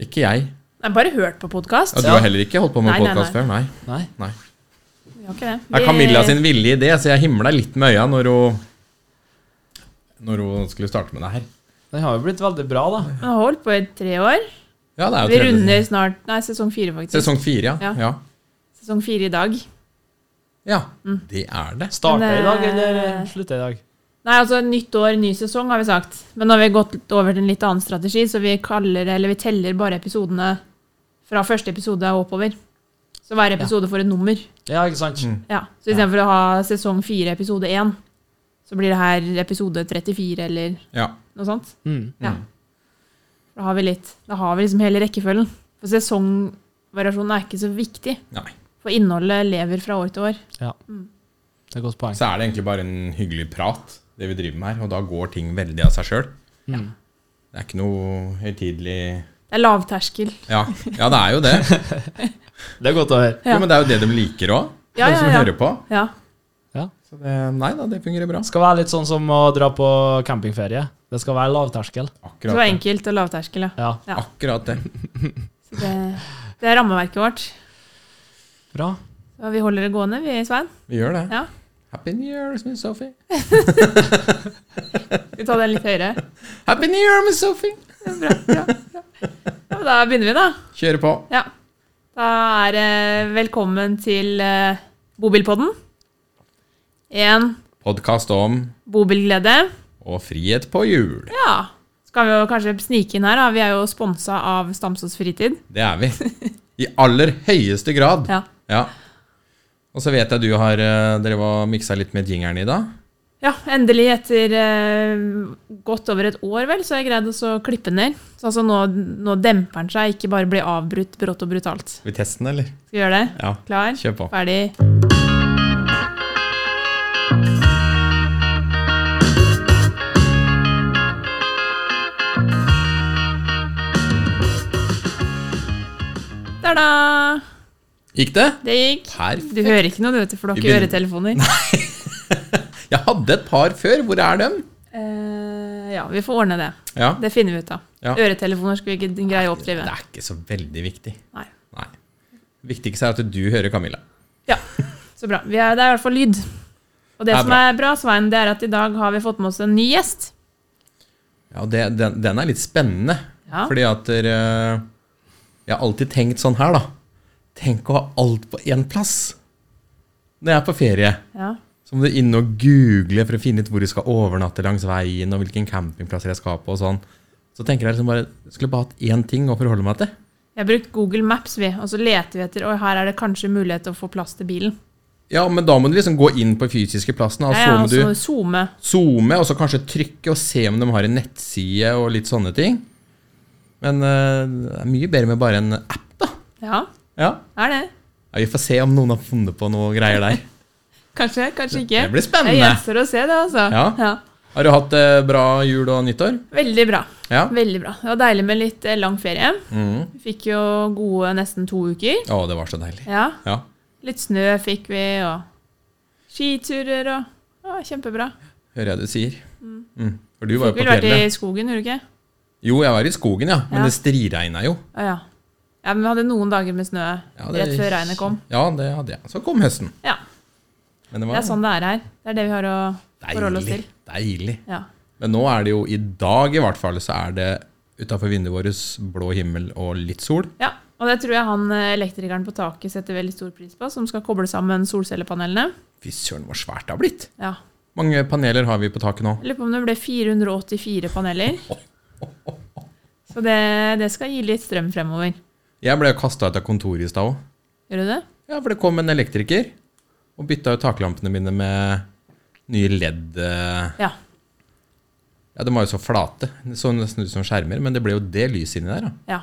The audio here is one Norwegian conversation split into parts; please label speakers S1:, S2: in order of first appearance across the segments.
S1: Ikke jeg.
S2: Nei, bare hørt på podkast.
S1: Ja, du
S2: Ja,
S1: har heller ikke holdt på med
S2: Nei, nei,
S1: podkast
S2: nei.
S1: før? Nei.
S3: Nei.
S1: nei.
S2: vi har ikke det.
S1: Det er
S2: Vi-
S1: Camilla sin villige idé, så jeg himla litt med øya når hun Når hun skulle starte med det her.
S3: Den har jo blitt veldig bra, da.
S2: Den har holdt på i tre år.
S1: Ja, det er
S2: Vi
S1: jo tredje
S2: runder snart Nei, sesong fire, faktisk. Sesong,
S1: Sesong fire, ja.
S2: Ja.
S1: Ja,
S2: fire i dag.
S1: ja.
S2: Mm.
S1: det er det.
S3: Starter i dag,
S2: Men, eh,
S3: eller slutter i dag?
S2: Nei, altså nytt år, ny sesong, har vi sagt. Men nå har vi gått litt over til en litt annen strategi, så vi kaller Eller vi teller bare episodene fra første episode og oppover. Så hver episode får et nummer.
S3: Ja, ikke sant?
S2: Ja. Så istedenfor å ha sesong fire, episode én, så blir det her episode 34 eller
S1: Ja.
S2: noe sånt.
S3: Mm.
S2: Ja. Da har vi litt Da har vi liksom hele rekkefølgen. For sesongvariasjonen er ikke så viktig.
S1: Nei.
S2: For innholdet lever fra år til år.
S3: Ja. Det er et godt poeng.
S1: Så er det egentlig bare en hyggelig prat, det vi driver med her, og da går ting veldig av seg sjøl.
S3: Mm.
S1: Det er ikke noe høytidelig
S2: Det er lavterskel.
S1: ja. ja, det er jo det.
S3: Det er godt å høre.
S1: Jo, men det er jo det de liker òg,
S2: Ja,
S1: de som
S2: ja, ja.
S1: hører på.
S2: Ja.
S1: Så det, nei da, det fungerer bra.
S3: Det skal være litt sånn som å dra på campingferie. Det skal være lavterskel.
S2: Så det var
S1: Akkurat det.
S2: enkelt og lavterskel, ja.
S3: Ja.
S2: Ja.
S1: Akkurat det.
S2: Så Det, det er rammeverket vårt.
S3: Bra.
S2: Og vi holder det gående, vi, Svein.
S1: Vi gjør det.
S2: Ja.
S1: Happy New Year, Miss Sophie.
S2: Skal vi ta den litt høyere?
S1: Happy New Year, Miss Sophie.
S2: Ja, Bra, bra, bra. Ja, men da begynner vi, da.
S1: Kjører på.
S2: Ja. Da er det velkommen til eh, bobilpodden. En
S1: Podkast om
S2: bobilglede.
S1: og frihet på hjul.
S2: Ja. Skal vi jo kanskje snike inn her, da. Vi er jo sponsa av Stamsås Fritid.
S1: Det er vi. I aller høyeste grad.
S2: Ja.
S1: Ja. Og så vet jeg du har eh, drevet og miksa litt med jingeren i dag.
S2: ja endelig, etter eh, godt over et år, vel, så har jeg greid også å klippe den ned. Så altså nå, nå demper den seg, ikke bare blir avbrutt brått og brutalt.
S1: Skal vi teste den, eller?
S2: Skal vi gjøre det?
S1: Ja.
S2: Klar?
S1: Kjør på.
S2: Ferdig. Da-da!
S1: Gikk det?
S2: Det gikk.
S1: Perfekt.
S2: Du hører ikke noe, du vet, for du har
S1: Vi
S2: ikke
S1: begynner-
S2: øretelefoner.
S1: Jeg hadde et par før. Hvor er dem?
S2: Eh, ja, vi får ordne det.
S1: Ja.
S2: Det finner vi ut av.
S1: Ja.
S2: Øretelefoner skal vi ikke greie å oppdrive.
S1: Det er ikke så veldig viktig.
S2: Nei.
S1: Nei. Det viktigste er at du hører Camilla.
S2: Ja, så bra. Vi er, det er i hvert fall lyd. Og det
S1: Det er
S2: som
S1: bra.
S2: er bra, Svein, det er at i dag har vi fått med oss en ny gjest.
S1: Ja, og det, den, den er litt spennende.
S2: Ja.
S1: Fordi at dere Jeg har alltid tenkt sånn her, da. Tenk å ha alt på én plass når jeg er på ferie.
S2: Ja.
S1: Så må du inn og google for å finne ut hvor du skal overnatte langs veien, og hvilken campingplasser jeg skal på og sånn. Så tenker jeg liksom bare Skulle bare hatt én ting å forholde meg til.
S2: Jeg har brukt Google Maps, vi, og så leter vi etter Oi, her er det kanskje mulighet til å få plass til bilen.
S1: Ja, men da må du liksom gå inn på fysiske plassen, og
S2: Ja, altså-
S1: så
S2: ja,
S1: må
S2: og
S1: du
S2: så zoome.
S1: zoome, og så kanskje trykke og se om de har en nettside og litt sånne ting. Men eh, det er mye bedre med bare en app, da.
S2: Ja,
S1: Ja.
S2: det er det.
S1: ja, Vi får se om noen har funnet på noe greier der.
S2: Kanskje, kanskje ikke.
S1: Det blir spennende.
S2: Jeg gjenstår å se det, altså.
S1: Ja. Har du hatt eh, bra jul og nyttår?
S2: Veldig bra.
S1: Ja.
S2: Veldig bra. Det var deilig med litt eh, lang ferie.
S1: Mm.
S2: Vi fikk jo gode nesten to uker.
S1: Å, det var så deilig.
S2: Ja.
S1: Ja.
S2: Litt snø fikk vi, og skiturer og ja, Kjempebra.
S1: Hører jeg du sier. Mm. For du var jo
S2: Fikk
S1: på
S2: vel vært i
S1: fjellet.
S2: skogen, gjorde du ikke?
S1: Jo, jeg var i skogen, ja. Men
S2: Ja.
S1: det striregna jo.
S2: Ja, ja. ja, men vi hadde noen dager med snø
S1: Ja, det-
S2: rett før regnet kom.
S1: Ja, det hadde jeg. Så kom høsten.
S2: Ja,
S1: Men det
S2: det
S1: var
S2: er sånn det er her. Det er det vi har å forholde oss
S1: deilig.
S2: til.
S1: Deilig.
S2: Ja.
S1: Men nå er det jo i dag, i hvert fall, så er det utafor vinduet vårt blå himmel og litt sol.
S2: Ja, og det tror jeg han eh, elektrikeren på taket setter veldig stor pris på, som skal koble sammen solcellepanelene.
S1: Fy søren, hvor svært det har blitt!
S2: Ja.
S1: mange paneler har vi på taket nå?
S2: Jeg lurer på om det ble 484 paneler. Så det, det skal gi litt strøm fremover.
S1: Jeg ble kasta ut av kontoret i stad òg.
S2: Gjør du det?
S1: Ja, for det kom en elektriker og bytta ut taklampene mine med nye ledd eh,
S2: Ja.
S1: Ja, de var jo så flate. Det så nesten ut som skjermer, men det ble jo det lyset inni der, da.
S2: ja.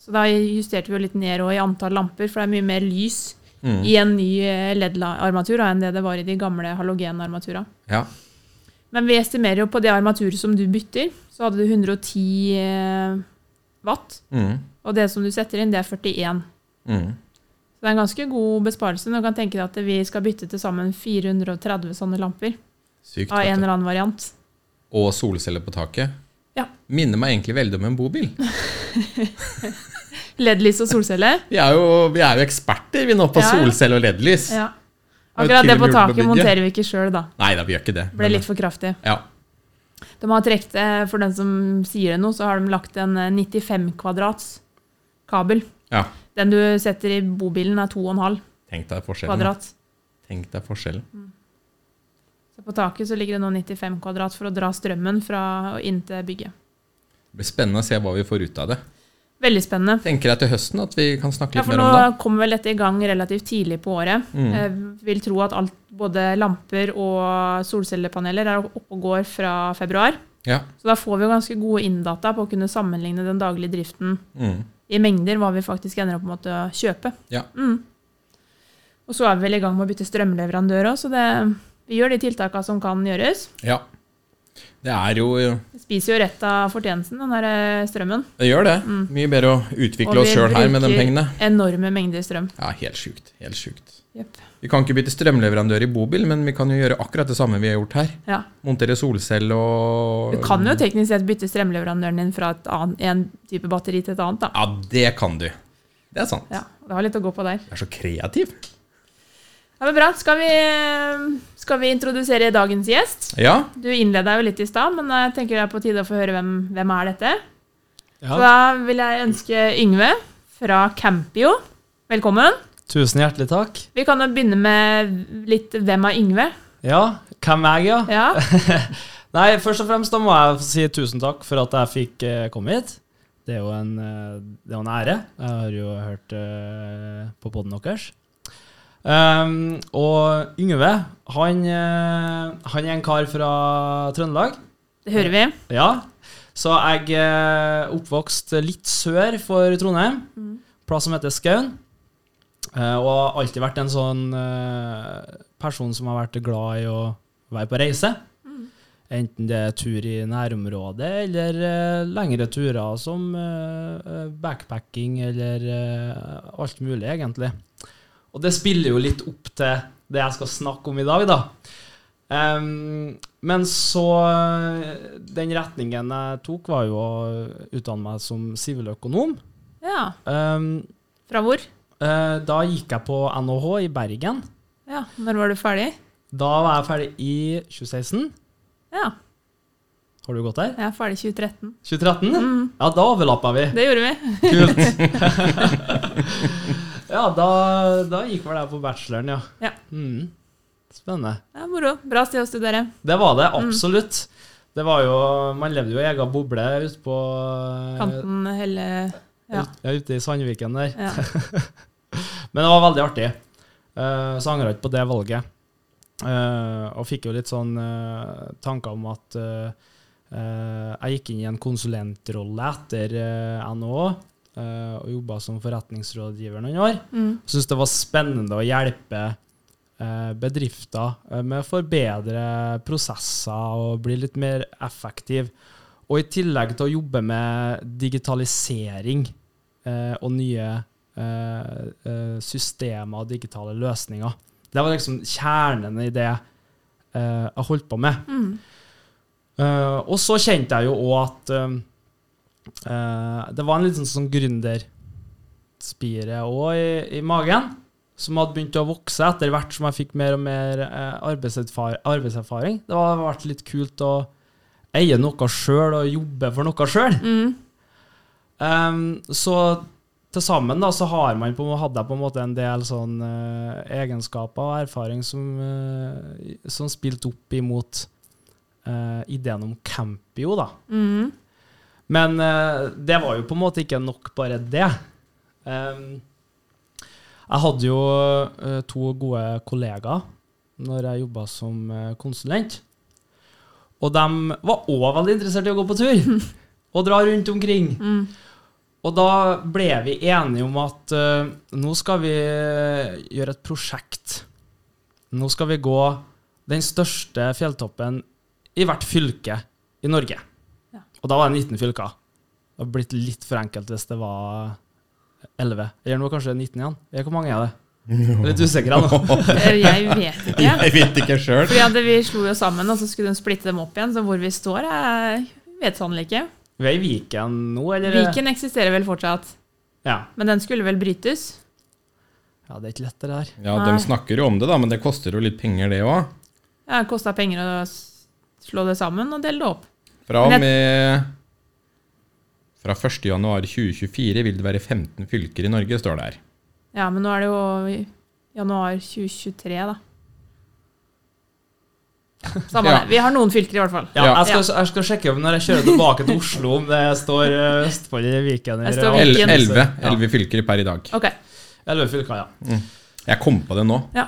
S2: Så da justerte vi jo litt ned også i antall lamper, for det er mye mer lys i en ny eh, LED-armatur da, enn det det var i de gamle halogenarmaturene.
S1: Ja.
S2: Men vi estimerer jo på det armaturet som du bytter, så hadde du 110 eh, watt,
S1: Mm.
S2: og det som du setter inn, det er 41.
S1: Mm.
S2: Så det er en ganske god besparelse. Nå kan tenke deg at vi skal bytte til sammen 430 sånne lamper
S1: Sykt.
S2: av en
S1: vet du.
S2: eller annen variant.
S1: Og solceller på taket.
S2: Ja.
S1: minner meg egentlig veldig om en bobil.
S2: LED-lys og solceller.
S1: Vi er jo, vi er jo eksperter vi nå på
S2: Ja, ja.
S1: solcelle og LED-lys.
S2: Ja.
S1: Og
S2: Akkurat
S1: til
S2: det
S1: og
S2: på
S1: med
S2: taket
S1: hjulpebygget.
S2: monterer vi ikke sjøl, da.
S1: Nei da, vi gjør ikke det.
S2: Ble
S1: Men-
S2: litt for kraftig.
S1: Ja.
S2: De har trukket, eh, for den som sier det nå, så har de lagt en eh, 95 kvadrats kabel.
S1: ja.
S2: Den du setter i bobilen er 2,5
S1: Tenk deg forskjellen. da.
S2: kvadrat.
S1: Tenk deg forskjellen.
S2: Så på taket så ligger det nå 95 kvadrat for å dra strømmen fra og inn til bygget.
S1: Det blir spennende å se hva vi får ut av det.
S2: Veldig spennende.
S1: Tenker jeg til høsten at vi kan snakke
S2: Ja,
S1: litt Mm.
S2: for
S1: mer
S2: nå
S1: om det.
S2: kommer vel dette i gang relativt tidlig på året. Jeg vil tro at alt, både lamper og solcellepaneler er oppe og går fra februar.
S1: Ja.
S2: Så da får vi jo ganske gode inndata på å kunne sammenligne den daglige driften
S1: Mm.
S2: i mengder, hva vi faktisk ender opp med å kjøpe.
S1: Ja.
S2: Mm. Og så er vi vel i gang med å bytte strømleverandør òg, så det, vi gjør de tiltakene som kan gjøres.
S1: ja. Det er jo
S2: Vi spiser jo rett av fortjenesten, den her strømmen.
S1: Det gjør det.
S2: Mm.
S1: Mye bedre å utvikle oss sjøl her med de pengene.
S2: enorme mengder strøm.
S1: Ja, helt sjukt. Helt sjukt.
S2: Jep.
S1: Vi kan ikke bytte strømleverandør i bobil, men vi kan jo gjøre akkurat det samme vi har gjort her.
S2: Ja.
S1: Montere solcelle og
S2: Du kan jo teknisk sett bytte strømleverandøren din fra et annet, en type batteri til et annet. da.
S1: Ja, det kan du. Det er sant.
S2: Ja, Det har litt å gå på der.
S1: Jeg er så kreativ.
S2: Ja, men bra. Skal vi, eh, skal vi introdusere dagens gjest?
S1: Ja.
S2: Du innleda jo litt i stad, men jeg tenker det er på tide å få høre hvem, hvem er dette Så
S3: Ja.
S2: da vil jeg ønske Yngve fra Campio velkommen.
S3: Tusen hjertelig takk.
S2: Vi kan jo begynne med litt 'Hvem er Yngve?'
S3: Ja, hvem er jeg,
S2: Ja,
S3: ja? Nei, først og fremst da må jeg få si tusen takk for at jeg fikk eh, komme hit. Det er jo en, eh, det er jo en ære. Jeg har jo hørt eh, på podden deres. Ehm, og Yngve, han, eh, han er en kar fra Trøndelag.
S2: det hører vi.
S3: Ja. Så jeg eh, oppvokst litt sør for Trondheim, plass som heter Skaun. Eh, og har alltid vært en sånn eh, person som har vært glad i å være på reise. Enten det er tur i nærområdet eller eh, lengre turer som eh, backpacking eller eh, alt mulig, egentlig. Og det spiller jo litt opp til det jeg skal snakke om i dag, da. Ehm, men så eh, Den retningen jeg tok, var jo å utdanne meg som siviløkonom.
S2: Ja,
S3: Ehm,
S2: Fra hvor?
S3: eh, da gikk jeg på NHH i Bergen.
S2: Ja, Når var du ferdig?
S3: Da var jeg ferdig i 2016.
S2: Ja,
S3: Har du gått der?
S2: jeg er ferdig i 2013.
S3: 2013?
S2: Mm.
S3: Ja, da overlappa vi.
S2: Det gjorde vi.
S3: Kult. ja, da, da gikk vel jeg på bacheloren, ja.
S2: Ja.
S3: Mm. Spennende.
S2: Ja, Moro. Bra sted å studere.
S3: Det var det, absolutt. Det var jo, Man levde jo i egen boble ute på
S2: Kanten hele Ja.
S3: Ut- Ja, ute i Sandviken der.
S2: ja.
S3: Men det var veldig artig. Eh, så angra jeg ikke på det valget. Eh, og fikk jo litt sånn eh, tanker om at eh, eh, jeg gikk inn i en konsulentrolle etter eh, NHO. eh, og jobba som forretningsrådgiver noen år.
S2: Mm.
S3: Syns det var spennende å hjelpe eh, bedrifter eh, med å forbedre prosesser og bli litt mer effektiv. Og i tillegg til å jobbe med digitalisering eh, og nye eh, eh, systemer og digitale løsninger. Det var liksom kjernen i det eh, jeg holdt på med.
S2: Mm.
S3: Eh, og så kjente jeg jo òg at eh, eh, det var en liten sånn gründerspire òg i, i magen, som hadde begynt å vokse etter hvert som jeg fikk mer og mer eh, arbeidserfar arbeidserfaring. Det har vært litt kult å eie noe sjøl og jobbe for noe sjøl.
S2: Mm.
S3: Ehm, så til sammen da, så har man på, en må- hadde jeg på en måte en del sånn eh, egenskaper og erfaring som, eh, som spilte opp imot eh, ideen om Campio, da.
S2: Mm.
S3: Men eh, det var jo på en måte ikke nok bare det. Ehm, jeg hadde jo eh, to gode kollegaer når jeg jobba som eh, konsulent. Og de var òg veldig interessert i å gå på tur og dra rundt omkring.
S2: Mm.
S3: Og da ble vi enige om at eh, nå skal vi eh, gjøre et prosjekt. Nå skal vi gå den største fjelltoppen i hvert fylke i Norge.
S2: Ja.
S3: Og da var det 19 fylker. Det hadde blitt litt for enkelt hvis det var 11. Eller nå kanskje det er 19 igjen. Eller Hvor mange er det? Jeg er litt usikker nå.
S2: Eh, Jeg vet ikke.
S1: Jeg vet ikke sjøl.
S2: Fordi at vi slo jo sammen, og så skulle de splitte dem opp igjen. Så hvor vi står, er Vet sannelig ikke.
S3: Vi er i Viken nå, eller?
S2: Viken eksisterer vel fortsatt,
S3: Ja.
S2: men den skulle vel brytes?
S3: ja, det er ikke lett det der.
S1: Ja,
S2: Nei.
S1: De snakker jo om det, da, men det koster jo litt penger, det òg.
S2: Ja, Det kosta penger å s- slå det sammen og dele det opp.
S1: Fra og
S2: Men jeg-
S1: med fra 1.1.2024 vil det være 15 fylker i Norge, står det her.
S2: Ja, men nå er det jo i januar 2023, da. Samme
S1: Ja.
S2: det. Vi har noen fylker, i hvert fall.
S3: Ja,
S1: Ja.
S3: Jeg, skal, jeg skal sjekke om når jeg kjører tilbake til Oslo, om det står eh, Østfold eller Viken.
S2: Det står
S1: El-
S2: Viken.
S1: Elleve
S3: Ja.
S1: elleve fylker per i dag.
S2: Ok.
S3: Elleve fylker, ja.
S1: Jeg kom på det nå.
S2: Ja.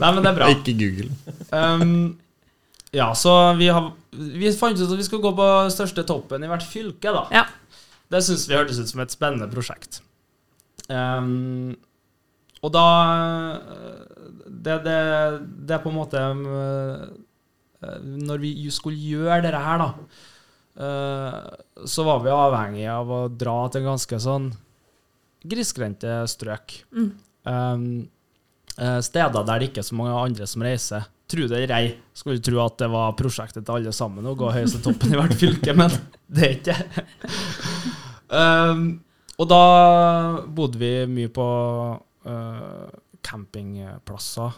S3: Nei, men det er bra.
S1: Ikke Google.
S3: Um, ja, så vi, har, vi fant ut at vi skulle gå på største toppen i hvert fylke, da.
S2: ja.
S3: Det syns vi hørtes ut som et spennende prosjekt. Ehm, og da det, det, det er på en måte um, eh, Når vi ju- skulle gjøre dette her, da, eh, så var vi avhengig av å dra til ganske sånn grisgrendte strøk.
S2: Mm.
S3: Ehm, eh, steder der det ikke er så mange andre som reiser. Tro det eller ei, skulle tro at det var prosjektet til alle sammen å gå høyeste toppen i hvert fylke, men det er ikke det. Ehm, og da bodde vi mye på eh, campingplasser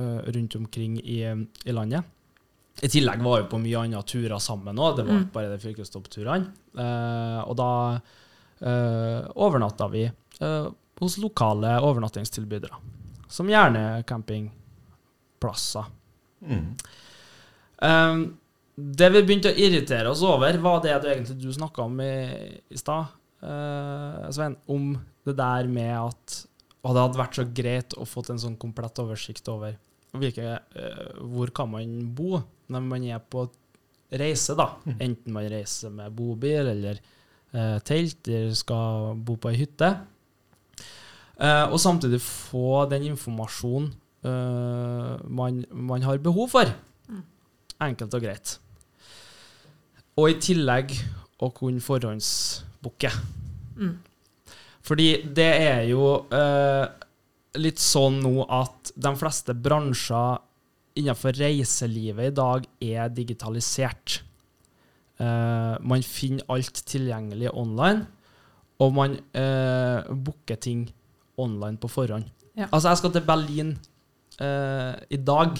S3: eh, rundt omkring i, i landet. I tillegg var vi på mye andre turer sammen òg, det var
S2: Mm.
S3: ikke bare de fylkestoppturene. Eh, og da eh, overnatta vi eh, hos lokale overnattingstilbydere, som gjerne campingplasser.
S1: Mm.
S3: Um, det vi begynte å irritere oss over, var det du egentlig du snakka om i, i stad, eh, Svein, om det der med at og det hadde vært så greit å fått en sånn komplett oversikt over hvilke, eh, hvor kan man bo når man er på reise, da. Enten man reiser med bobil eller eh, telt, eller skal bo på ei hytte. Eh, og samtidig få den informasjonen eh, man, man har behov for. Enkelt og greit. Og i tillegg å kunne forhåndsbooke.
S2: Mm.
S3: Fordi det er jo eh, litt sånn nå at de fleste bransjer innenfor reiselivet i dag er digitalisert. Eh, man finner alt tilgjengelig online, og man eh, booker ting online på forhånd.
S2: Ja.
S3: Altså, jeg skal til Berlin eh, i dag.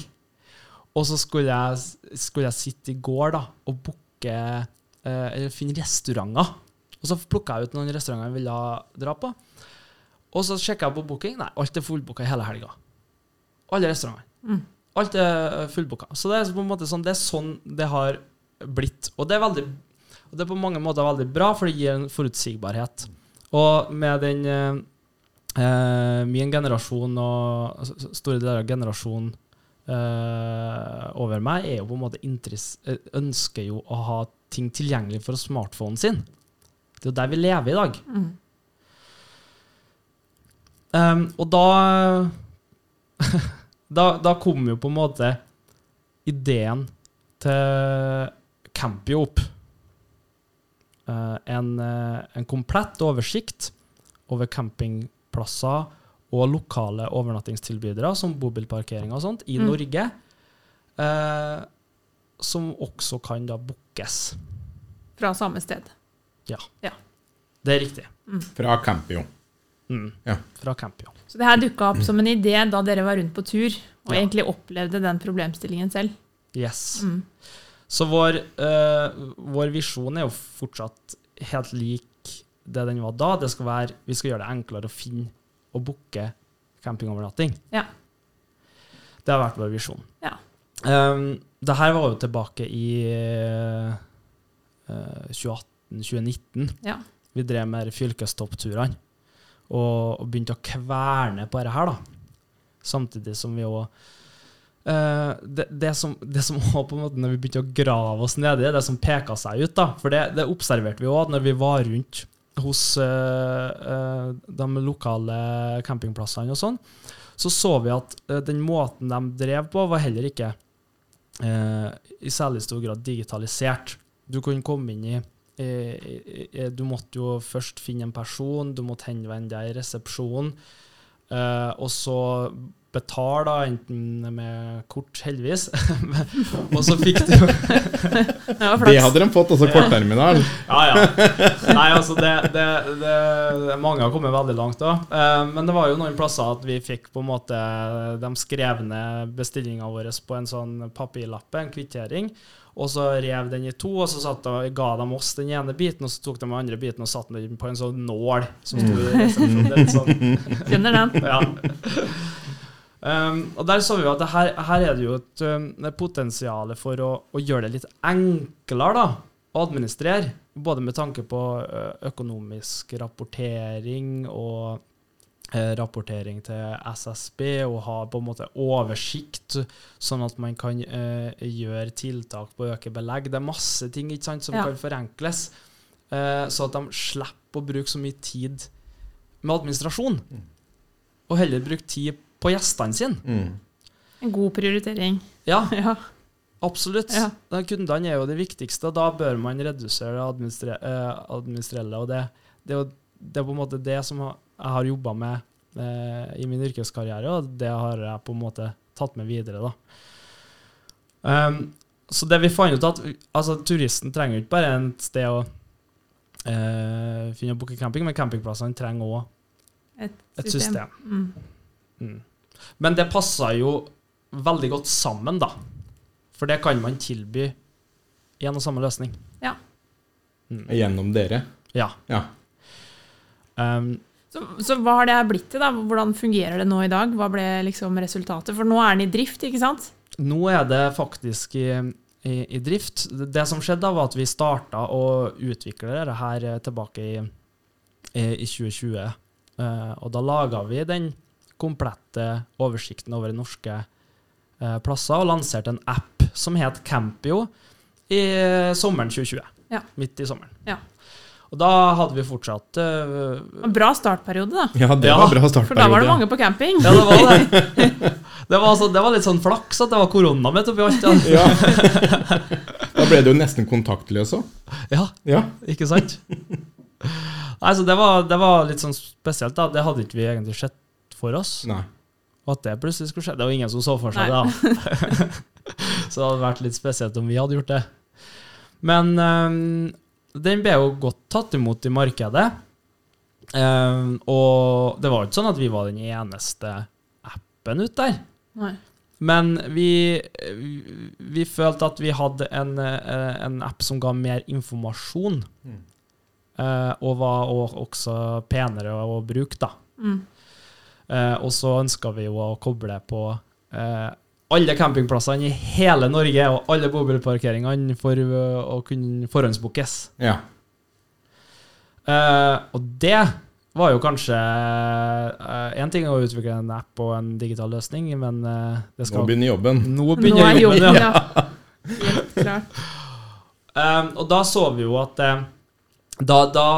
S3: Og så skulle jeg, skulle jeg sitte i går da, og booke eh, Eller finne restauranter. Og så plukka jeg ut noen restauranter jeg ville dra på. Og så sjekka jeg på booking. Nei, alt er fullbooka hele helga. Alle restaurantene.
S2: Mm.
S3: Alt er fullbooka. Så det er på en måte sånn det er sånn det har blitt. Og det er veldig og det er på mange måter veldig bra, for det gir en forutsigbarhet. Og med den eh, eh, min generasjon og s- s- store deler av generasjonen eh, over meg, er jo på en måte interess- eh, ønsker jo å ha ting tilgjengelig for smartphonen sin. Det er jo der vi lever i dag.
S2: Mm.
S3: Um, og da, da Da kom jo på en måte ideen til Campio opp. Eh, en, eh, en komplett oversikt over campingplasser og lokale overnattingstilbydere, som bobilparkering og sånt, i
S2: Mm.
S3: Norge. eh, som også kan da bookes.
S2: Fra samme sted.
S3: Det er riktig.
S1: Fra Campio.
S3: Mm.
S1: Ja.
S3: Fra Campio.
S2: Så det her dukka opp som en idé da dere var rundt på tur, og
S3: Ja.
S2: egentlig opplevde den problemstillingen selv.
S3: Yes.
S2: Mm.
S3: Så vår, eh, vår visjon er jo fortsatt helt lik det den var da. Det skal være, vi skal gjøre det enklere å finne og booke campingovernatting.
S2: Ja.
S3: Det har vært vår visjon.
S2: Ja.
S3: Um, det her var jo tilbake i eh, 2018-2019.
S2: Ja.
S3: Vi drev med de fylkestoppturene og, og begynte å kverne på dette her. da. Samtidig som vi òg Eh, det, det, som, det som var på en måte Når vi begynte å grave oss nedi, det som peka seg ut, da For det, det observerte vi òg når vi var rundt hos eh, eh, de lokale campingplassene og sånn. Så så vi at eh, den måten de drev på, var heller ikke eh, i særlig stor grad digitalisert. Du kunne komme inn i eh, i- i- Du måtte jo først finne en person, du måtte henvende deg i resepsjonen, eh, og så betale, da, enten med kort, heldigvis. og så fikk du jo
S2: Det var
S1: Det
S2: flaks.
S1: hadde de fått, altså kortterminal.
S3: Ja, ja. Nei, altså, det, det, det, mange har kommet veldig langt da. Eh, Men det var jo noen plasser at vi fikk på en måte de skrevne bestillingene våre på en sånn papirlappe, en kvittering. Og så rev den i to, og så satt de, ga de oss den ene biten, og så tok de den andre biten og satte den på en sånn nål som sto i resepsjonen. Det er litt sånn
S2: Skjønner den.
S3: ja. Um, og der så vi jo at det her, her er det jo et um, potensial for å, å gjøre det litt enklere da, å administrere. Både med tanke på ø, økonomisk rapportering og eh, rapportering til SSB, og ha på en måte oversikt, sånn at man kan eh, gjøre tiltak på å øke belegg. Det er masse ting ikke sant, som
S2: Ja.
S3: kan forenkles, eh, så at de slipper å bruke så mye tid med administrasjon og heller bruke tid på gjestene sine.
S1: Mm.
S2: En god prioritering.
S3: Ja,
S2: Ja.
S3: absolutt.
S2: Ja.
S3: Da Kundene er jo det viktigste, og da bør man redusere det administre- eh, administrelle. Og det, det, er jo- det er på en måte det som har- jeg har jobba med eh, i min yrkeskarriere, og det har jeg på en måte tatt med videre. da. Ehm, så det vi fant ut at altså, turisten trenger jo ikke bare et sted å eh, finne og booke camping, men campingplassene trenger òg et system.
S2: Mm.
S3: Mm. Men det passer jo veldig godt sammen, da. For det kan man tilby i en og samme løsning.
S2: Ja.
S3: Mm.
S1: Gjennom dere.
S3: Ja.
S1: Ja.
S3: Um,
S2: Så, så hva har det her blitt til, da? Hvordan fungerer det nå i dag? Hva ble liksom resultatet? For nå er den i drift, ikke sant?
S3: nå er det faktisk i, i, i drift. Det det som skjedde, da, var at vi starta å utvikle dette her eh, tilbake i, i i 2020. Eh, og da laga vi den komplette oversikten over norske eh, plasser og lanserte en app som het Campio i sommeren 2020.
S2: Ja.
S3: Midt i sommeren.
S2: Ja.
S3: Og da hadde vi fortsatt eh,
S2: Det var En bra startperiode, da.
S1: Ja, det
S3: Ja,
S1: var bra
S2: For da var
S1: startperiode.
S2: det mange på camping.
S3: Ja, det var det. Det var, altså, det var litt sånn flaks at det var korona midt oppi alt. Ja.
S1: Ja. Da ble du jo nesten kontaktløs òg.
S3: Ja.
S1: Ja.
S3: Ikke sant? Nei, så det var, det var litt sånn spesielt, da. Det hadde ikke vi egentlig sett for oss.
S1: Nei.
S3: Og at det plutselig skulle skje. Det var ingen som så for seg det, da. så det hadde vært litt spesielt om vi hadde gjort det. Men eh, den ble jo godt tatt imot i markedet. Eh, og det var jo ikke sånn at vi var den eneste appen ute der.
S2: Nei.
S3: Men vi, vi, vi følte at vi hadde en, eh, en app som ga mer informasjon.
S1: Mm.
S3: eh, Og var og- også penere å bruke, da.
S2: Mm.
S3: Eh, Og så ønska vi jo å koble på eh, alle campingplassene i hele Norge og alle bobilparkeringene for eh, å kunne forhåndsbookes.
S1: Ja.
S3: Eh, og det var jo kanskje én ting å utvikle en app og en digital løsning, men eh, det
S1: Nå
S3: skal
S1: begynner jobben.
S3: Nå
S2: Mm. Nå
S3: begynner
S2: er
S3: jobben,
S2: jobben,
S3: ja.
S2: ja. Helt klart.
S3: Um, og da så vi jo at eh, da, da,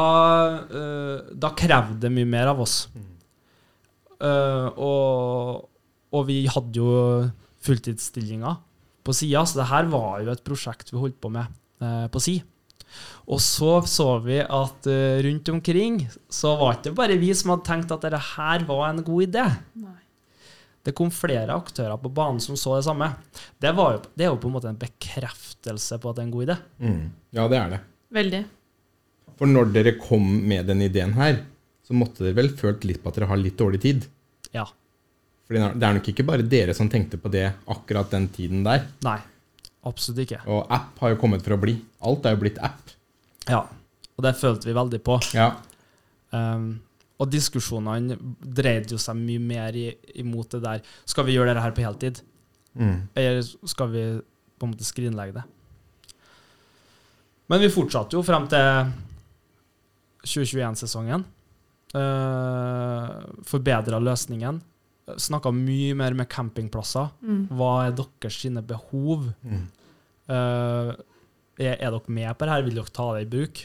S3: eh, da krevde det mye mer av oss. Eh, og, og vi hadde jo fulltidsstillinger på sida, så det her var jo et prosjekt vi holdt på med eh, på si. Og så så vi at eh, rundt omkring så var det ikke bare vi som hadde tenkt at dette her var en god idé.
S2: Nei.
S3: Det kom flere aktører på banen som så det samme. Det, var jo, det er jo på en måte en bekreftelse på at det er en god idé.
S1: Mm. Ja, det er det.
S2: Veldig.
S1: For når dere kom med den ideen her, så måtte dere vel følt litt på at dere har litt dårlig tid.
S3: Ja.
S1: For det er nok ikke bare dere som tenkte på det akkurat den tiden der.
S3: Nei, absolutt ikke.
S1: Og app har jo kommet for å bli. Alt er jo blitt app.
S3: Ja, og det følte vi veldig på.
S1: Ja.
S3: Um, og diskusjonene dreide jo seg mye mer i, imot det der. Skal vi gjøre dette her på heltid,
S1: Mm.
S3: eller skal vi på en måte skrinlegge det? Men vi fortsatte jo frem til 2021-sesongen. Uh, Forbedra løsningen. Snakka mye mer med campingplasser.
S2: Mm.
S3: Hva er deres sine behov?
S1: Mm.
S3: Eh, er, er dere med på det her? Vil dere ta det i bruk?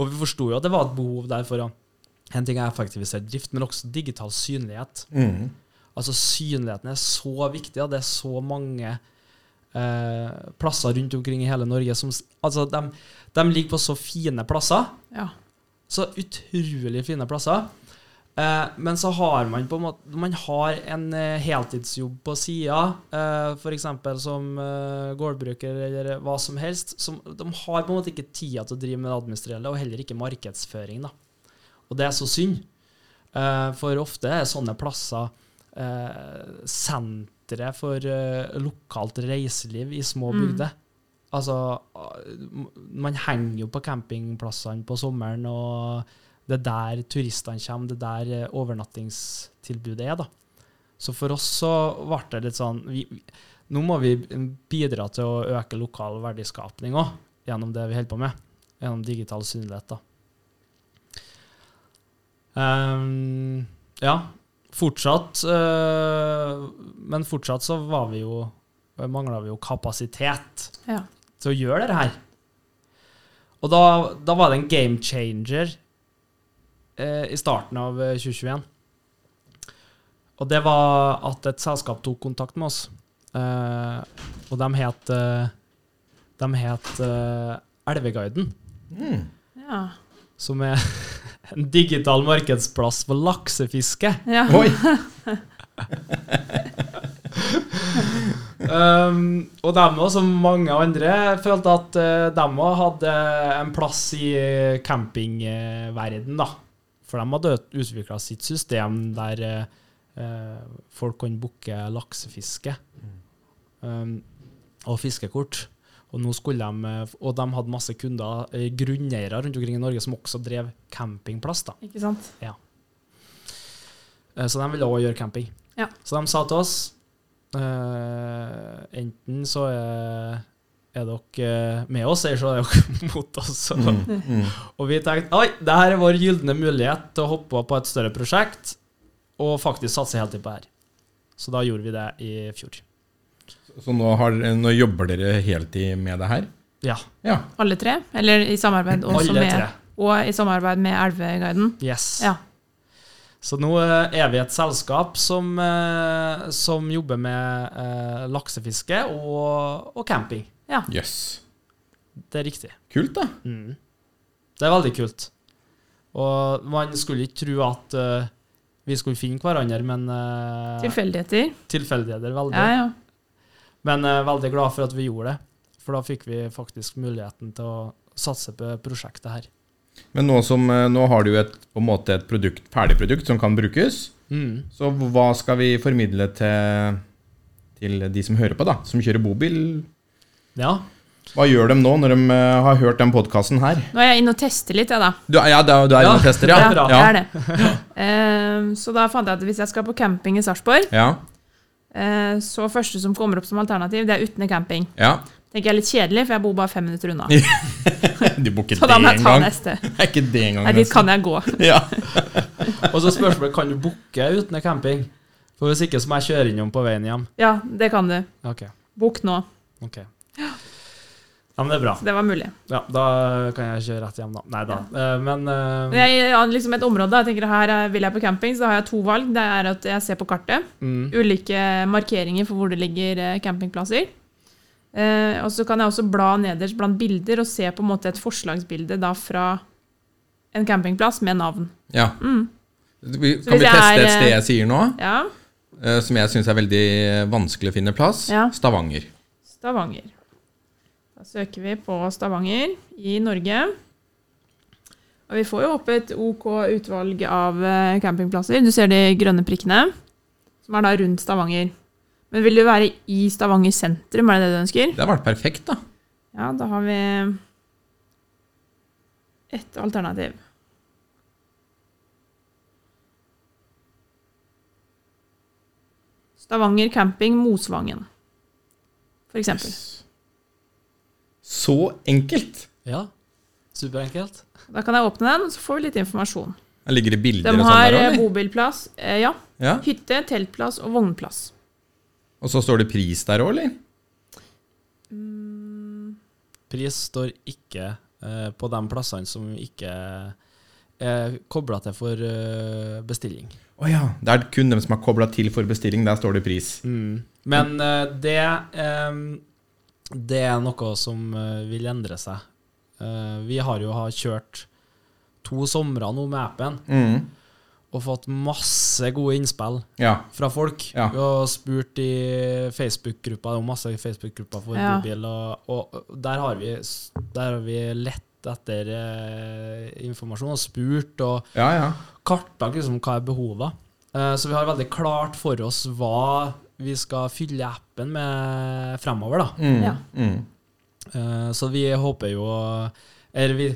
S3: Og vi forsto jo at det var et behov der for å En ting er effektivisere drift, men også digital synlighet.
S1: Mm.
S3: Altså Synligheten er så viktig, og det er så mange eh, plasser rundt omkring i hele Norge som s- Altså, de, de ligger på så fine plasser.
S2: Ja.
S3: Så utrolig fine plasser. Eh, men så har man på en måte Man har en eh, heltidsjobb på sida, eh, f.eks. som eh, gårdbruker eller hva som helst. Som, de har på en måte ikke tida til å drive med det administrelle, og heller ikke markedsføring. da Og det er så synd. Eh, for ofte er sånne plasser eh, sentre for eh, lokalt reiseliv i små
S2: Mm.
S3: bygder. Altså, ah, man henger jo på campingplassene på sommeren, og det er der turistene kommer, det er der eh, overnattingstilbudet er, da. Så for oss så ble det litt sånn vi, vi- Nå må vi bidra til å øke lokal verdiskapning òg, gjennom det vi holder på med. Gjennom digital synlighet, da. Ehm, ja. Fortsatt eh, Men fortsatt så var vi jo Mangla vi jo kapasitet
S2: Ja.
S3: til å gjøre det her. Og da, da var det en game changer eh, i starten av eh, 2021. Og det var at et selskap tok kontakt med oss. Eh, og de het eh, De het eh, Elveguiden,
S1: Mm.
S2: ja.
S3: som er en digital markedsplass for laksefiske.
S2: ja.
S1: Oi!
S3: Um, og dem òg, som mange andre, følte at uh, dem òg hadde en plass i eh, campingverden, da. For de hadde utvikla sitt system der eh, eh, folk kan booke laksefiske um, og fiskekort. Og, nå skulle de, eh, f- og de hadde masse kunder, eh, grunneiere rundt omkring i Norge, som også drev campingplass. da.
S2: Ikke sant?
S3: Eh, Så de ville også gjøre camping.
S2: Ja.
S3: Så de sa til oss eh, enten så er, er dere eh, med oss, eller så er dere mot oss.
S1: Mm. Mm.
S3: Og vi tenkte oi, det her er vår gylne mulighet til å hoppe på et større prosjekt og faktisk satse heltid på det her. Så da gjorde vi det i fjor.
S1: Så nå, har, nå jobber dere heltid med det her?
S3: Ja,
S1: Ja.
S2: Alle tre? Eller i samarbeid også
S3: alle
S2: med
S3: tre.
S2: Og i samarbeid med Elveguiden?
S3: Yes.
S2: Ja.
S3: Så nå eh, er vi et selskap som, eh, som jobber med eh, laksefiske og, og camping.
S1: Jøss.
S3: Det er riktig.
S1: Kult, da.
S3: Mm. Det er veldig kult. Og man skulle ikke tro at eh, vi skulle finne hverandre, men eh,
S2: Tilfeldigheter?
S3: tilfeldigheter veldig.
S2: Ja, ja.
S3: Men eh, veldig glad for at vi gjorde det, for da fikk vi faktisk muligheten til å satse på prosjektet her.
S1: Men nå, som, eh, nå har du jo et, på en måte et produkt, ferdig produkt som kan brukes.
S3: Mm.
S1: Så hva skal vi formidle til, til de som hører på, da? Som kjører bobil?
S3: Ja.
S1: Hva gjør de nå når de eh, har hørt den podkasten her?
S2: Nå er jeg inne og tester litt, jeg, da.
S1: Du, ja, du er
S3: Ja,
S1: inne og tester,
S3: det
S1: ja?
S3: er bra.
S2: det
S1: Ja.
S2: er det. Ehm, så da fant jeg at hvis jeg skal på camping i Sarpsborg,
S1: ja.
S2: eh, så første som kommer opp som alternativ, det er Utne camping.
S1: ja.
S2: Tenker jeg er litt kjedelig, for jeg bor bare fem minutter unna.
S1: Du booker
S2: Så da må
S1: det
S2: jeg
S1: en
S2: ta
S1: gang.
S2: neste.
S1: Det er ikke det engang.
S2: Nei, dit kan jeg gå.
S1: Ja.
S2: Mm.
S3: Og så spørsmålet kan du booke uten camping. For hvis ikke så må jeg kjøre innom på veien hjem.
S2: Ja, det kan du.
S3: Ok,
S2: Bok nå.
S3: ok. Ja, men det er bra.
S2: Så det var mulig.
S3: Ja, da kan jeg kjøre rett hjem da. Neida. Eh, Men... eh,
S2: Men jeg har liksom et område, da. jeg tenker her er- vil jeg på camping, så da har jeg to valg. Det er at jeg ser på kartet.
S3: mm.
S2: ulike markeringer for hvor det ligger eh, campingplasser. Eh, og så kan jeg også bla nederst blant bilder og se på en måte et forslagsbilde da fra en campingplass med navn.
S1: ja.
S2: Mm.
S1: Vi,
S2: Så
S1: kan
S2: hvis
S1: vi
S2: jeg
S1: teste
S2: er,
S1: et sted
S2: eh,
S1: jeg sier nå,
S2: Ja,
S1: eh, som jeg syns er veldig vanskelig å finne plass?
S2: Ja.
S1: Stavanger.
S2: Stavanger. Da søker vi på Stavanger i Norge. Og vi får jo opp et OK utvalg av eh, campingplasser. Du ser de grønne prikkene, som er da rundt Stavanger. Men vil du være i Stavanger sentrum, er det det du ønsker?
S1: Det har vært perfekt, da.
S2: Ja, da har vi ett alternativ. Stavanger camping Mosvangen, for eksempel.
S1: Så enkelt!
S3: Ja, superenkelt.
S2: Da kan jeg åpne den, og så får vi litt informasjon.
S1: Her ligger det
S2: De
S1: bilder og sånn
S2: har
S1: der
S2: eh,
S1: også, eller?
S2: bobilplass, eh, ja,
S1: Ja.
S2: hytte, teltplass og vognplass.
S1: Og så står det pris der òg, eller?
S3: Pris står ikke eh, på de plassene som ikke er kobla til for eh, bestilling.
S1: Å ja. Det er kun dem som er kobla til for bestilling. Der står det pris.
S3: Men eh, det eh, Det er noe som eh, vil endre seg. Eh, vi har jo ha kjørt to somre nå med appen,
S1: Mm.
S3: og fått masse gode innspill
S1: Ja.
S3: fra folk.
S1: Ja.
S3: Vi har spurt i Facebook-gruppa, det er jo masse Facebook-grupper for
S2: Ja.
S3: bobil, og, og der har vi, der har vi lett etter eh, informasjon og spurt og
S1: Ja, ja.
S3: kartlagt liksom, hva er behovet. Eh, så vi har veldig klart for oss hva vi skal fylle appen med fremover. da.
S1: Mm.
S2: Ja.
S1: Mm.
S3: Eh, Så vi håper jo Eller vi,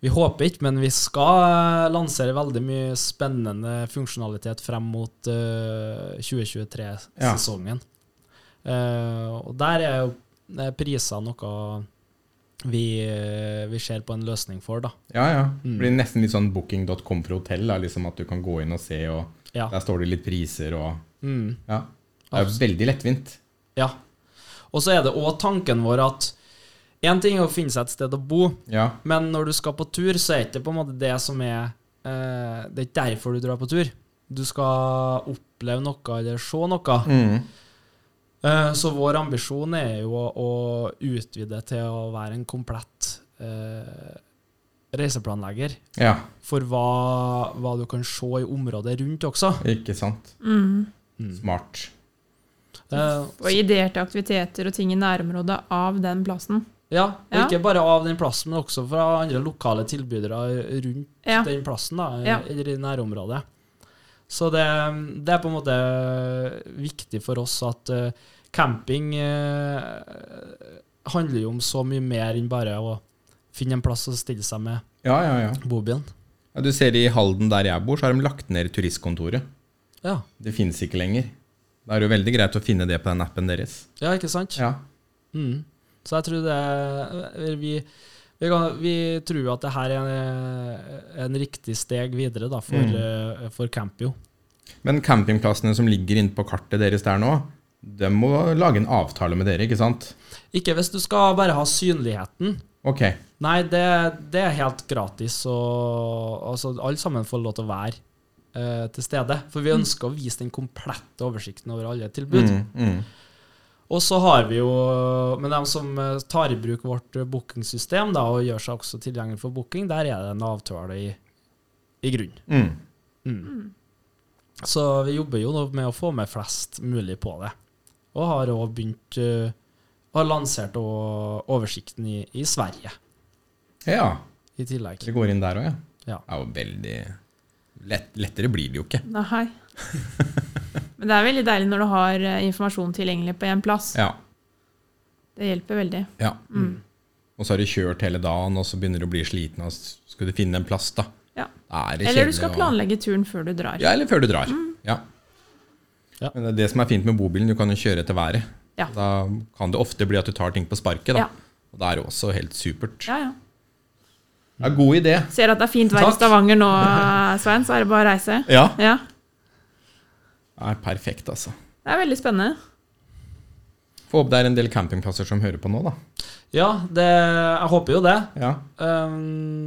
S3: vi håper ikke, men vi skal eh, lansere veldig mye spennende funksjonalitet frem mot eh, 2023-sesongen. og der er jo eh, priser noe vi, eh, vi ser på en løsning for, da.
S1: ja, ja. Det
S3: Mm.
S1: blir nesten litt sånn booking.com for hotell. Da, liksom at du kan gå inn og se, og
S3: Ja.
S1: der står det litt priser og
S3: Mm.
S1: Ja. Det er jo veldig lettvint.
S3: ja. Og så er det òg tanken vår at én ting er å finne seg et sted å bo,
S1: Ja.
S3: Men når du skal på tur, så er ikke det på en måte det som er eh, Det er ikke derfor du drar på tur. Du skal oppleve noe eller se noe.
S1: Mm.
S3: Eh, så vår ambisjon er jo å, å utvide til å være en komplett eh, reiseplanlegger
S1: Ja,
S3: for hva, hva du kan se i området rundt også.
S1: ikke sant.
S2: Mm.
S1: Smart.
S3: Eh,
S2: Og ideer til aktiviteter og ting i nærområdet av den plassen.
S3: ja, og
S2: Ja.
S3: ikke bare av den plassen, men også fra andre lokale tilbydere rundt
S2: Ja.
S3: den plassen, da,
S2: Ja.
S3: eller i nærområdet. Så det, det er på en måte viktig for oss at eh, camping eh, handler jo om så mye mer enn bare å finne en plass å stille seg med
S1: Ja, ja, ja.
S3: bobilen.
S1: ja du ser i Halden der jeg bor, så har de lagt ned turistkontoret.
S3: Ja.
S1: Det finnes ikke lenger. Da er det jo veldig greit å finne det på den appen deres.
S3: ja, ikke sant?
S1: Ja.
S3: Mm. Så jeg tror det eh, Vi, vi, kan, vi tror jo at det her er en, en riktig steg videre da, for, eh, for Campio.
S1: Men campingplassene som ligger inne på kartet deres der nå, de må lage en avtale med dere, ikke sant?
S3: Ikke hvis du skal bare ha synligheten.
S1: Ok.
S3: Nei, det, det er helt gratis. Og, altså, alle sammen får lov til å være eh, til stede. For vi ønsker å vise den komplette oversikten over alle tilbud.
S1: Mm, mm.
S3: Og så har vi jo Men de som eh, tar i bruk vårt eh, bookingsystem da, og gjør seg også tilgjengelig for booking, der er det en avtale i, i grunnen.
S1: Mm.
S3: Så vi jobber jo nå med å få med flest mulig på det. Og har òg begynt eh, Har lansert også oversikten i, i Sverige
S1: Ja.
S3: i tillegg.
S1: Dere går inn der òg, ja.
S3: Ja.
S1: Det er jo veldig lett, Lettere blir det jo ikke.
S2: Nei. Men det er veldig deilig når du har eh, informasjon tilgjengelig på én plass.
S1: Ja.
S2: Det hjelper veldig.
S1: ja.
S2: Mm.
S1: Og så har du kjørt hele dagen, og så begynner du å bli sliten, og så skal du finne en plass, da.
S2: Ja.
S1: Da er det
S2: Eller
S1: kjedelig
S2: du skal
S1: å-
S2: planlegge turen før du drar.
S1: Ja, eller før du drar.
S2: Mm.
S1: Ja.
S3: Ja.
S1: Men det, er det som er fint med bobilen, du kan jo kjøre etter været.
S2: Ja.
S1: Da kan det ofte bli at du tar ting på sparket. Da.
S2: Ja.
S1: Og det er også helt supert.
S2: Ja, ja.
S1: Det er god idé.
S2: Ser at det er fint vær i
S3: Takk.
S2: Stavanger nå, eh, Svein, så er det bare å reise.
S1: Ja.
S2: Ja.
S1: Det er perfekt, altså.
S2: Det er veldig spennende.
S1: Få opp det er en del campingplasser som hører på nå, da.
S3: Ja, det, jeg håper jo det.
S1: Ja.
S3: Ehm,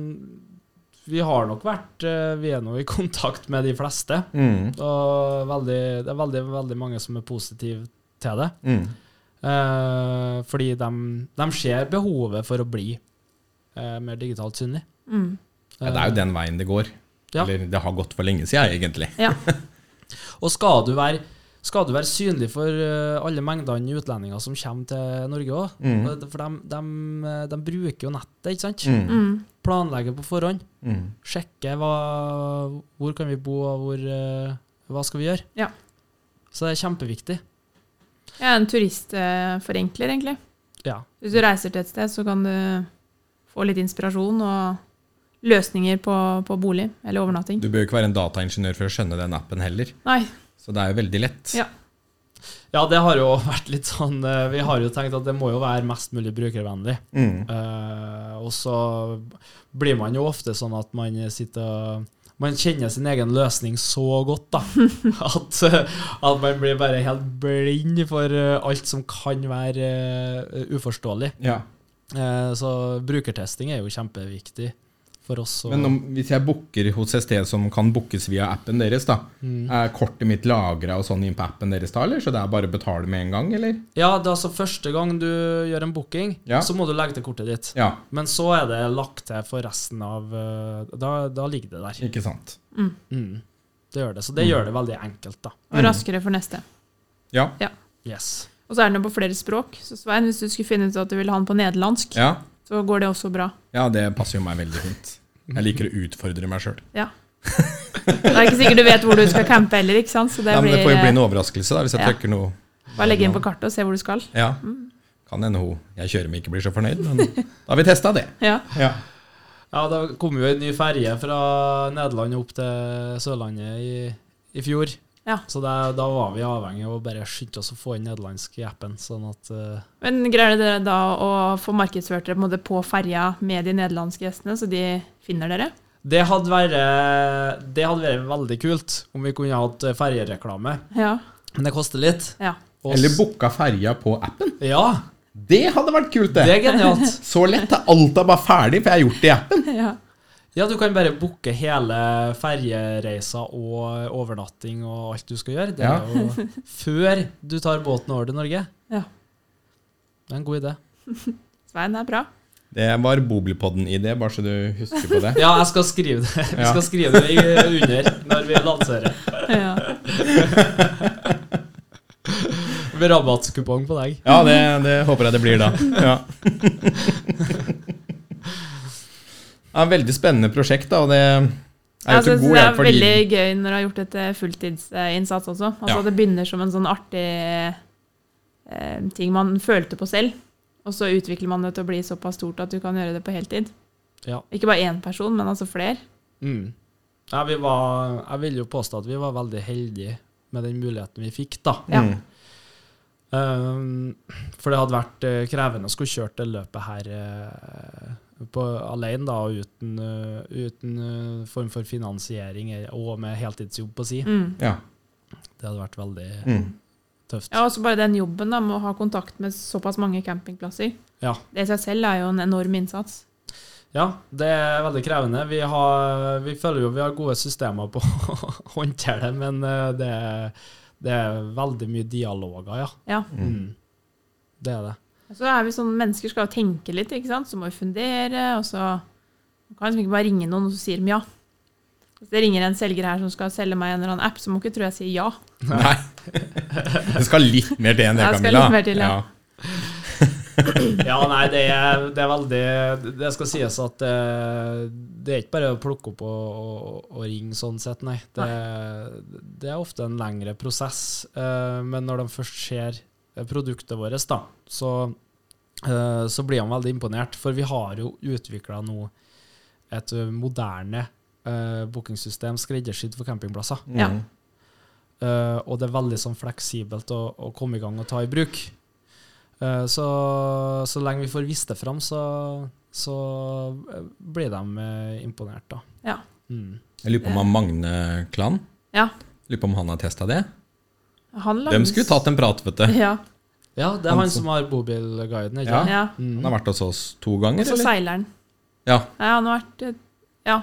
S3: vi har nok vært eh, Vi er nå i kontakt med de fleste.
S1: Mm.
S3: Og veldig, det er veldig, veldig mange som er positive til det.
S1: Mm.
S3: Eh, fordi de, de ser behovet for å bli eh, mer digitalt synlig.
S2: Mm.
S1: Ja, det er jo den veien det går.
S3: Ja.
S1: Eller det har gått for lenge siden, egentlig.
S2: Ja.
S3: Eh, Og skal du være skal du være synlig for eh, alle mengdene utlendinger som kommer til Norge òg?
S1: Mm.
S3: For de, de, de bruker jo nettet, ikke sant?
S1: Mm.
S2: Mm.
S3: Planlegger på forhånd.
S1: Mm.
S3: sjekke hva, hvor kan vi bo, og hvor, eh, hva skal vi gjøre.
S2: Ja.
S3: Så det er kjempeviktig.
S2: Jeg er en turistforenkler, egentlig.
S3: Ja.
S2: Hvis du reiser til et sted, så kan du få litt inspirasjon og løsninger på, på bolig eller overnatting.
S1: Du bør jo ikke være en dataingeniør for å skjønne den appen heller.
S2: Nei.
S1: Så det er jo veldig lett.
S2: Ja.
S3: ja, det har jo vært litt sånn eh, Vi har jo tenkt at det må jo være mest mulig brukervennlig.
S1: Mm.
S3: Eh, og så blir man jo ofte sånn at man sitter og man kjenner sin egen løsning så godt, da. At, eh, at man blir bare helt blind for eh, alt som kan være eh, uforståelig.
S1: Ja.
S3: Eh, Så brukertesting er jo kjempeviktig for oss. å-
S1: Men om, hvis jeg booker hos et sted som kan bookes via appen deres, da,
S3: Mm.
S1: er kortet mitt lagra og sånn inn på appen deres da, eller? Så det er bare å betale med en gang, eller?
S3: Ja, det er altså første gang du gjør en booking,
S1: Ja.
S3: så må du legge til kortet ditt.
S1: Ja,
S3: Men så er det lagt til for resten av eh, Da, da ligger det der.
S1: ikke sant.
S3: Mm. Det gjør det. Så det
S1: Mm.
S3: gjør det veldig enkelt, da.
S2: Og raskere for neste.
S1: Ja.
S3: Yes.
S2: Og så er den jo på flere språk. Så Svein, hvis du skulle finne ut at du ville ha den på nederlandsk,
S1: ja.
S2: så går det også bra.
S1: Ja, det passer jo meg veldig fint. Jeg liker å utfordre meg sjøl.
S2: Det er ikke sikkert du vet hvor du skal campe heller, ikke sant? Så det
S1: Det, men det
S2: blir
S1: får jo bli
S2: eh,
S1: en overraskelse da, hvis jeg
S2: Ja. Mm.
S1: trykker noe.
S2: bare legge inn på kartet og se hvor du skal.
S1: Ja. Kan hende hun jeg kjører med, ikke blir så fornøyd, men da har vi testa det.
S2: Ja.
S1: Ja.
S3: Ja, det kom jo en ny ferje fra Nederland opp til Sørlandet i, i fjor.
S2: Ja.
S3: Så det, da var vi avhengig av å bare skynde oss å få inn nederlandsk i appen. Sånn at eh,
S2: Men greier dere da å få markedsført dere på, en måte på ferja med de nederlandske gjestene, så de finner dere?
S3: det, hadde vært, det hadde vært veldig kult om vi kunne hatt ferjereklame.
S2: Ja.
S3: Men det koster litt.
S2: ja.
S3: Og s-
S1: Eller booka ferja på appen.
S3: Ja,
S1: Det hadde vært kult,
S3: det
S1: det.
S3: er genialt.
S1: Så lett er alt da bare ferdig, for jeg har gjort det i appen.
S2: ja.
S3: Ja, du kan bare booke hele ferjereisa og overnatting og alt du skal gjøre. Det
S1: Ja.
S3: er jo før du tar båten over til Norge.
S2: Ja.
S3: Det er en god idé.
S2: Svein er bra.
S1: Det var Boblipodden-idé, bare så du husker på det.
S3: Ja, jeg skal skrive det. Vi
S1: Ja.
S3: skal skrive det i- under når vi lanserer.
S2: Ja.
S3: Med rabattkupong på deg.
S1: Ja, det, det håper jeg det blir da. Ja. Ja, veldig spennende prosjekt, da, og det er jo til
S2: Jeg synes
S1: god
S2: Altså, det
S1: hjelp
S2: er
S1: for
S2: veldig
S1: de
S2: gøy når du har gjort et eh, fulltidsinnsats også. Altså
S1: Ja.
S2: at Det begynner som en sånn artig eh, ting man følte på selv. Og så utvikler man det til å bli såpass stort at du kan gjøre det på heltid.
S3: Ja.
S2: Ikke bare én person, men altså flere.
S3: Mm. Ja, vi var, jeg vil jo påstå at vi var veldig heldige med den muligheten vi fikk, da.
S2: Ja.
S1: Mm.
S3: Um, for det hadde vært eh, krevende å skulle kjørt det løpet her eh, på, alene, da, og uten, eh, uten eh, form for finansiering eh, og med heltidsjobb på si.
S2: Mm.
S1: Ja.
S3: Det hadde vært veldig
S1: Mm.
S3: tøft.
S2: Ja, også bare den jobben da, med å ha kontakt med såpass mange campingplasser.
S3: Ja.
S2: Det i seg selv er jo en enorm innsats.
S3: Ja, det er veldig krevende. Vi, har, vi føler jo vi har gode systemer på å håndtere det, men eh, det, er- det er veldig mye dialoger, ja.
S2: Ja.
S1: Mm.
S3: Mm. Det er det.
S2: Så er vi sånn, Mennesker skal jo tenke litt, ikke sant? så må vi fundere. og så Man kan liksom ikke bare ringe noen og så sier de ja. Hvis det ringer en selger her som skal selge meg en eller annen app, så må ikke tro jeg sier ja.
S1: Nei. Det skal litt mer til enn det,
S2: Ja, det skal
S1: Camilla.
S2: litt mer til, ja.
S3: Ja, nei, det er, det er veldig Det skal sies at eh, det er ikke bare å plukke opp og, og, og ringe sånn sett, nei. Det, det er ofte en lengre prosess. eh, men når de først ser eh, produktet vårt, da, så, eh, så blir de veldig imponert. For vi har jo utvikla nå et moderne uh, bookingsystem skreddersydd for campingplasser.
S2: Ja.
S1: Mm.
S3: Eh, og det er veldig sånn fleksibelt å, å komme i gang og ta i bruk. Eh, så, så lenge vi får vist det fram, så, så eh, blir de eh, imponert, da.
S2: Ja.
S3: Mm.
S1: Jeg lurer på om han Magne Klan
S2: Ja.
S1: Lurer på om han har testa det.
S2: Han
S1: Dem skulle tatt en prat, vet du.
S2: Ja.
S3: ja, det er han som har bobilguiden, ikke
S1: Ja.
S3: sant?
S2: ja.
S1: Han har
S3: Mm.
S1: vært hos oss to
S2: Og
S1: ganger,
S2: så
S1: eller?
S2: seileren.
S1: Ja.
S2: Nei, han har vært eh, Ja,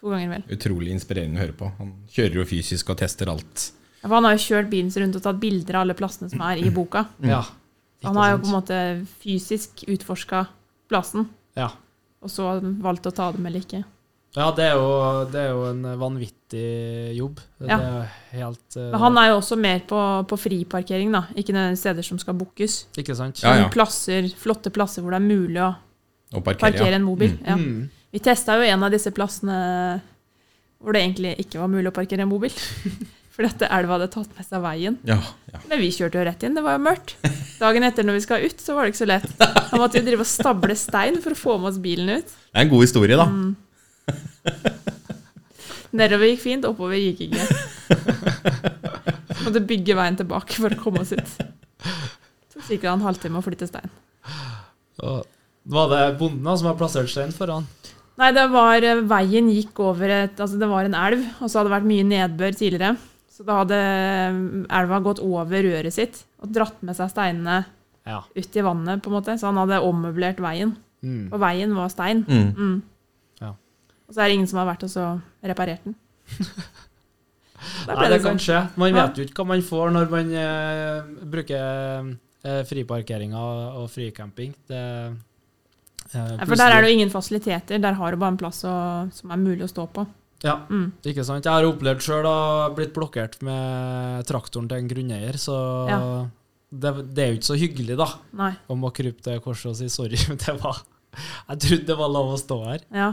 S2: to ganger vel.
S1: Utrolig inspirerende å høre på. Han kjører jo fysisk og tester alt.
S2: Ja, For han har jo kjørt bilen sin rundt og tatt bilder av alle plassene som er i boka.
S3: Ja.
S2: Så han har jo
S3: Ikke
S2: på en
S3: sant?
S2: måte fysisk utforska plassen,
S3: ja.
S2: og så valgt å ta dem eller ikke.
S3: ja, det er jo, det er jo en vanvittig jobb. Det
S2: Ja.
S3: er jo helt eh,
S2: Men han er jo også mer på, på friparkering, da. Ikke nødvendigvis steder som skal bookes.
S3: Ikke sant?
S1: Ja, ja.
S2: Men Plasser, flotte plasser hvor det er mulig å
S1: Og parkerer,
S2: parkere
S1: ja.
S2: en mobil. Ja.
S3: Mm.
S2: Vi testa jo en av disse plassene hvor det egentlig ikke var mulig å parkere en mobil. For dette elva hadde tatt med seg veien.
S1: Ja, ja.
S2: Men vi kjørte jo rett inn, det var jo mørkt. Dagen etter når vi skal ut, så var det ikke så lett. Da måtte vi drive og stable stein for å få med oss bilen ut.
S1: Det er en god historie,
S2: Mm.
S1: da.
S2: Nedover gikk fint, oppover gikk ikke. Måtte bygge veien tilbake for å komme oss ut. Så sikkert en halvtime å flytte stein.
S3: Og Var det bonden da som har plassert stein foran?
S2: Nei, det var eh, veien gikk over et Altså, det var en elv, og så hadde det vært mye nedbør tidligere. Så da hadde eh, elva gått over røret sitt og dratt med seg steinene
S3: Ja.
S2: ut i vannet, på en måte. Så han hadde ommøblert veien.
S3: Mm.
S2: Og veien var stein.
S1: Mm.
S2: Mm.
S3: Ja.
S2: Og så er det ingen som har vært og så reparert den. Da
S3: Nei,
S2: ble
S3: det
S2: det
S3: kan
S2: sånn.
S3: skje. Man
S2: Ja.
S3: vet jo ikke hva man får når man eh, bruker eh, friparkeringa og fricamping. Det, eh,
S2: Nei, For der er det jo ingen fasiliteter. Der har du bare en plass å, som er mulig å stå på.
S3: Ja,
S2: Mm.
S3: ikke sant. Jeg har opplevd sjøl å blitt blokkert med traktoren til en grunneier, så
S2: Ja.
S3: det, det er jo ikke så hyggelig, da,
S2: Nei.
S3: å må krype til korset og si sorry. Men det var Jeg trodde det var lov å stå her.
S2: Ja.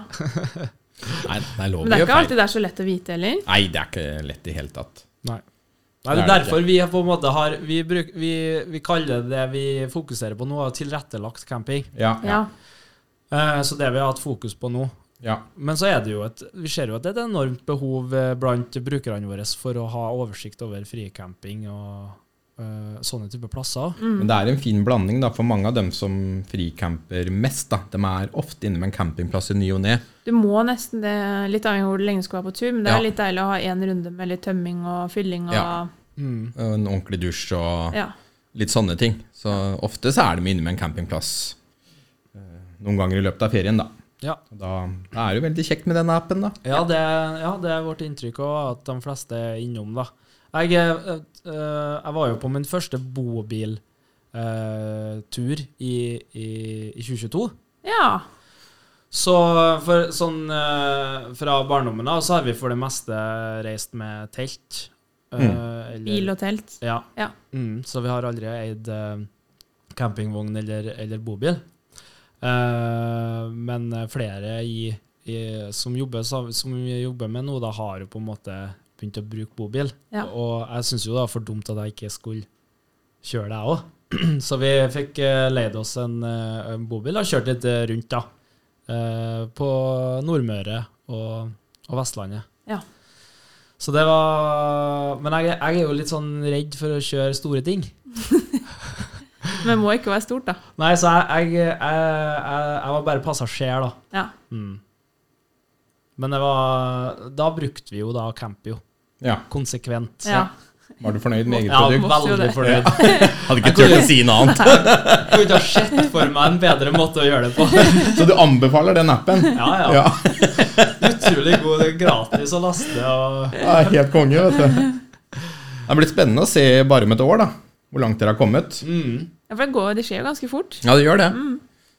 S1: Nei, det er lov
S2: Men
S1: å
S2: det er
S1: gjøre
S2: ikke
S1: feil.
S2: alltid det er så lett å vite heller.
S1: Nei, det er ikke lett i hele tatt.
S3: Nei, det
S1: Det
S3: er
S1: er det
S3: derfor vi på en måte har Vi, bruk, vi, vi kaller det vi fokuserer på nå, er tilrettelagt camping.
S1: Ja, ja,
S2: Ja.
S3: Eh, Så det vi har hatt fokus på nå.
S1: ja.
S3: Men så er det jo et, vi ser jo at det er et enormt behov eh, blant brukerne våre for å ha oversikt over fricamping og eh, sånne type plasser.
S1: Men det er en fin blanding, da, for mange av dem som fricamper mest, da, de er ofte inne med en campingplass i ny og ne.
S2: Du må nesten det, litt avhengig av hvor lenge du skal være på tur, men det
S1: Ja.
S2: er litt deilig å ha én runde med litt tømming og fylling og
S1: Ja.
S3: Mm.
S1: og En ordentlig dusj og
S2: Ja.
S1: litt sånne ting. Så ofte så er de inne med en campingplass eh, noen ganger i løpet av ferien, da.
S3: Ja.
S1: Og Da, da er det jo veldig kjekt med den appen, da.
S3: Ja, det, ja, det er vårt inntrykk òg, at de fleste er innom, da. Jeg, eh, eh, jeg var jo på min første bobiltur i, i, i 2022.
S2: ja.
S3: Så for, sånn, eh, fra barndommen av så har vi for det meste reist med telt. eh, eller-
S2: Bil og telt.
S3: Ja.
S2: Ja.
S3: Mm, så vi har aldri eid eh, campingvogn eller, eller bobil. Eh, men eh, flere i, i, som, jobber, sam- som vi jobber med nå, da har jo på en måte begynt å bruke bobil.
S2: Ja.
S3: Og jeg syns jo det var for dumt at jeg ikke skulle kjøre det, jeg òg. Så vi fikk eh, leid oss en, eh, en bobil og kjørt litt eh, rundt, da. Eh, på Nordmøre og, og Vestlandet.
S2: Ja.
S3: Så det var Men jeg, jeg er jo litt sånn redd for å kjøre store ting.
S2: Men det må ikke være stort, da.
S3: Nei, så jeg, jeg, jeg, jeg, jeg var bare passasjer, da.
S2: Ja.
S3: Mm. Men det var Da brukte vi jo da Campio
S1: Ja,
S3: konsekvent.
S2: ja.
S1: Var du fornøyd med eget
S3: Ja,
S1: produkt?
S2: måtte jo
S3: veldig
S2: det.
S3: fornøyd.
S1: Hadde ikke turt å si noe annet.
S3: Jeg kunne ikke ha sett for meg en bedre måte å gjøre det på.
S1: Så du anbefaler den appen?
S3: Ja, ja.
S1: Ja,
S3: Utrolig god. Det er gratis å laste. Og
S1: det er helt konge, vet du. Det blir spennende å se bare om et år, da. Hvor langt dere har kommet.
S3: mm.
S2: ja for det, går, det skjer jo ganske fort. Mm.
S1: Ja, det gjør det.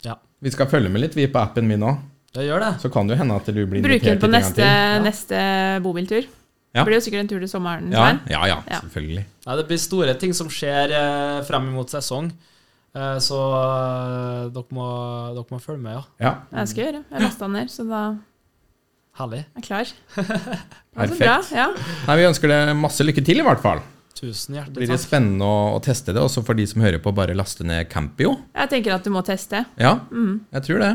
S3: Ja,
S1: Vi skal følge med litt, vi, på appen min òg.
S3: det gjør det.
S1: Så kan det jo hende at du blir
S2: Bruke den
S1: invitert
S2: på
S1: litt en gang
S2: neste,
S1: til.
S2: neste bobiltur.
S1: Ja.
S2: Det blir jo sikkert en tur til sommeren.
S1: Ja,
S2: Svein.
S1: ja, ja,
S2: Ja.
S1: selvfølgelig.
S3: Nei, det blir store ting som skjer eh, frem mot sesong. Eh, så eh, dere, må, dere må følge med, ja.
S1: Ja,
S2: Jeg skal gjøre. Jeg lasta den ned, så da er
S3: Herlig.
S2: jeg klar. Ja, så bra.
S1: perfekt.
S2: Ja.
S1: Nei, Vi ønsker deg masse lykke til, i hvert fall. Det
S3: Tusen
S1: blir
S3: hjertelig
S1: det
S3: takk.
S1: spennende å, å teste det. Også for de som hører på, bare laste ned Campio.
S2: Jeg tenker at du må teste.
S1: Ja,
S2: Mm.
S1: jeg tror det.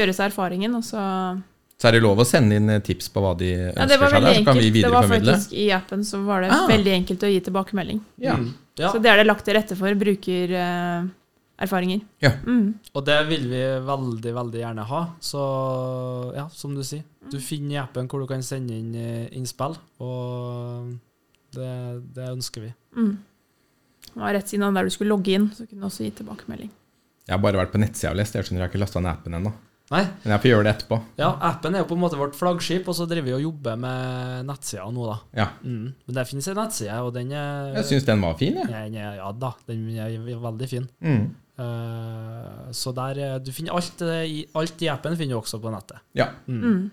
S2: Gjøre seg erfaringen, og så ja,
S1: Så er det lov å sende inn eh, tips på hva de ønsker
S2: Det var
S1: seg
S2: veldig
S1: der, så kan vi
S2: enkelt. Det var
S1: videreformidle.
S2: faktisk I appen så var det
S1: Ah.
S2: veldig enkelt å gi tilbakemelding.
S1: Ja.
S3: Mm. Ja,
S2: Så det er det lagt til rette for brukererfaringer.
S1: Ja.
S2: Mm.
S3: og det vil vi veldig, veldig gjerne ha. Så ja, som du sier, du finner i appen hvor du kan sende inn eh, innspill, og det, det ønsker vi.
S2: Mm. Det var rett siden av der du skulle logge inn, så kunne du også gi tilbakemelding.
S1: Jeg har bare vært på nettsida og lest, jeg skjønner jeg har ikke lasta ned appen ennå.
S3: Nei,
S1: Men jeg får gjøre det etterpå.
S3: ja, appen er jo på en måte vårt flaggskip, og så driver vi og jobber med nettsida nå, da.
S1: Ja.
S3: Mm. Men det finnes en nettside, og den
S2: Eh.
S3: er
S1: Jeg syns den var fin, jeg.
S3: Nei, nei, ja da, den er veldig fin.
S1: Mm.
S3: Eh, så der eh, Du finner alt, eh, i, alt i appen finner du også på nettet.
S1: Ja,
S3: Mm.
S2: Mm.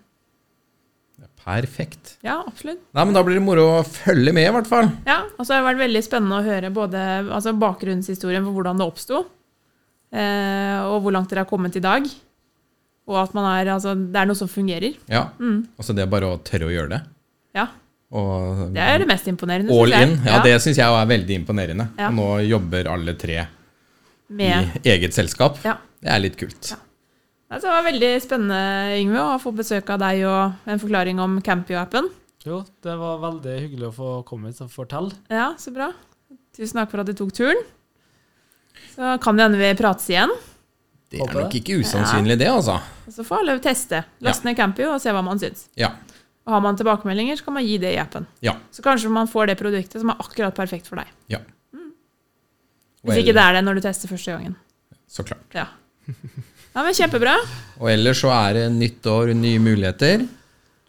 S1: perfekt.
S2: Ja, absolutt.
S1: Nei, men da blir det moro å følge med, i hvert fall.
S2: Ja, og så har det vært veldig spennende å høre både altså bakgrunnshistorien for hvordan det oppsto, eh, og hvor langt dere har kommet i dag. Og at man er, altså, det er noe som fungerer.
S1: Ja.
S2: Mm.
S1: Altså det er bare å tørre å gjøre det.
S2: Ja,
S1: Og
S2: det er det mest imponerende.
S1: All
S2: synes jeg.
S1: in. Ja, det syns jeg er veldig imponerende.
S2: Ja.
S1: Og nå jobber alle tre
S2: Med,
S1: i eget selskap.
S2: ja.
S1: Det er litt kult.
S2: Ja. Altså, det var veldig spennende, Yngve, å få besøk av deg og en forklaring om Campio-appen.
S3: Jo, det var veldig hyggelig å få komme hit og fortelle.
S2: Ja, så bra. Tusen takk for at du tok turen. Så kan det hende vi prates igjen.
S1: Det er
S3: Håper
S1: nok
S3: det.
S1: ikke usannsynlig, det, altså.
S2: Og så får alle teste. Laste ned Campio og se hva man syns.
S1: Ja.
S2: Og har man tilbakemeldinger, så kan man gi det i appen.
S1: Ja.
S2: Så kanskje man får det produktet som er akkurat perfekt for deg.
S1: ja. Og
S2: Hvis ikke det
S1: ellers-
S2: er det når du tester første gangen.
S1: Så klart.
S2: Ja, ja men kjempebra.
S1: Og ellers så er det nytt år, nye muligheter.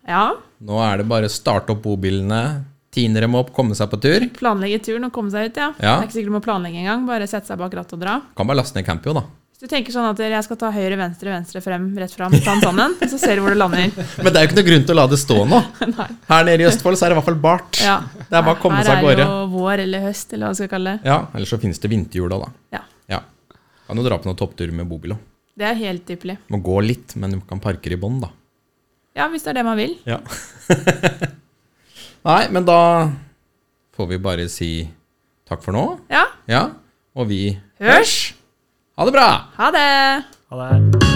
S2: Ja,
S1: Nå er det bare å starte opp bobilene, tine dem opp, komme seg på tur.
S2: Planlegge turen og komme seg ut, ja.
S1: Ja.
S2: Det er ikke sikkert du må planlegge engang. Bare sette seg bak rattet og dra.
S1: Kan bare laste ned Campio, da.
S2: Hvis Så du tenker sånn at jeg skal ta høyre, venstre, venstre, frem, rett fram, ta den sammen, og så ser du hvor det lander.
S1: Men det er jo ikke noe grunn til å la det stå nå.
S2: Nei.
S1: Her nede i Østfold så er det i hvert fall bart.
S2: Ja.
S1: Det er bare å komme
S2: Her
S1: seg av
S2: er
S1: gårde.
S2: jo vår eller høst, eller hva man skal kalle det.
S1: Ja, Eller så finnes det vinterhjul òg, da.
S2: Ja.
S1: Kan jo dra på noen toppturer med bobil òg.
S2: Det er helt ypperlig.
S1: Må gå litt, men du kan parke i bånn, da.
S2: Ja, hvis det er det man vil.
S1: Ja. Nei, men da får vi bare si takk for nå.
S2: Ja.
S1: Ja, og vi
S2: Hørs!
S1: Ha det bra!
S2: Ha det!
S3: Ha det.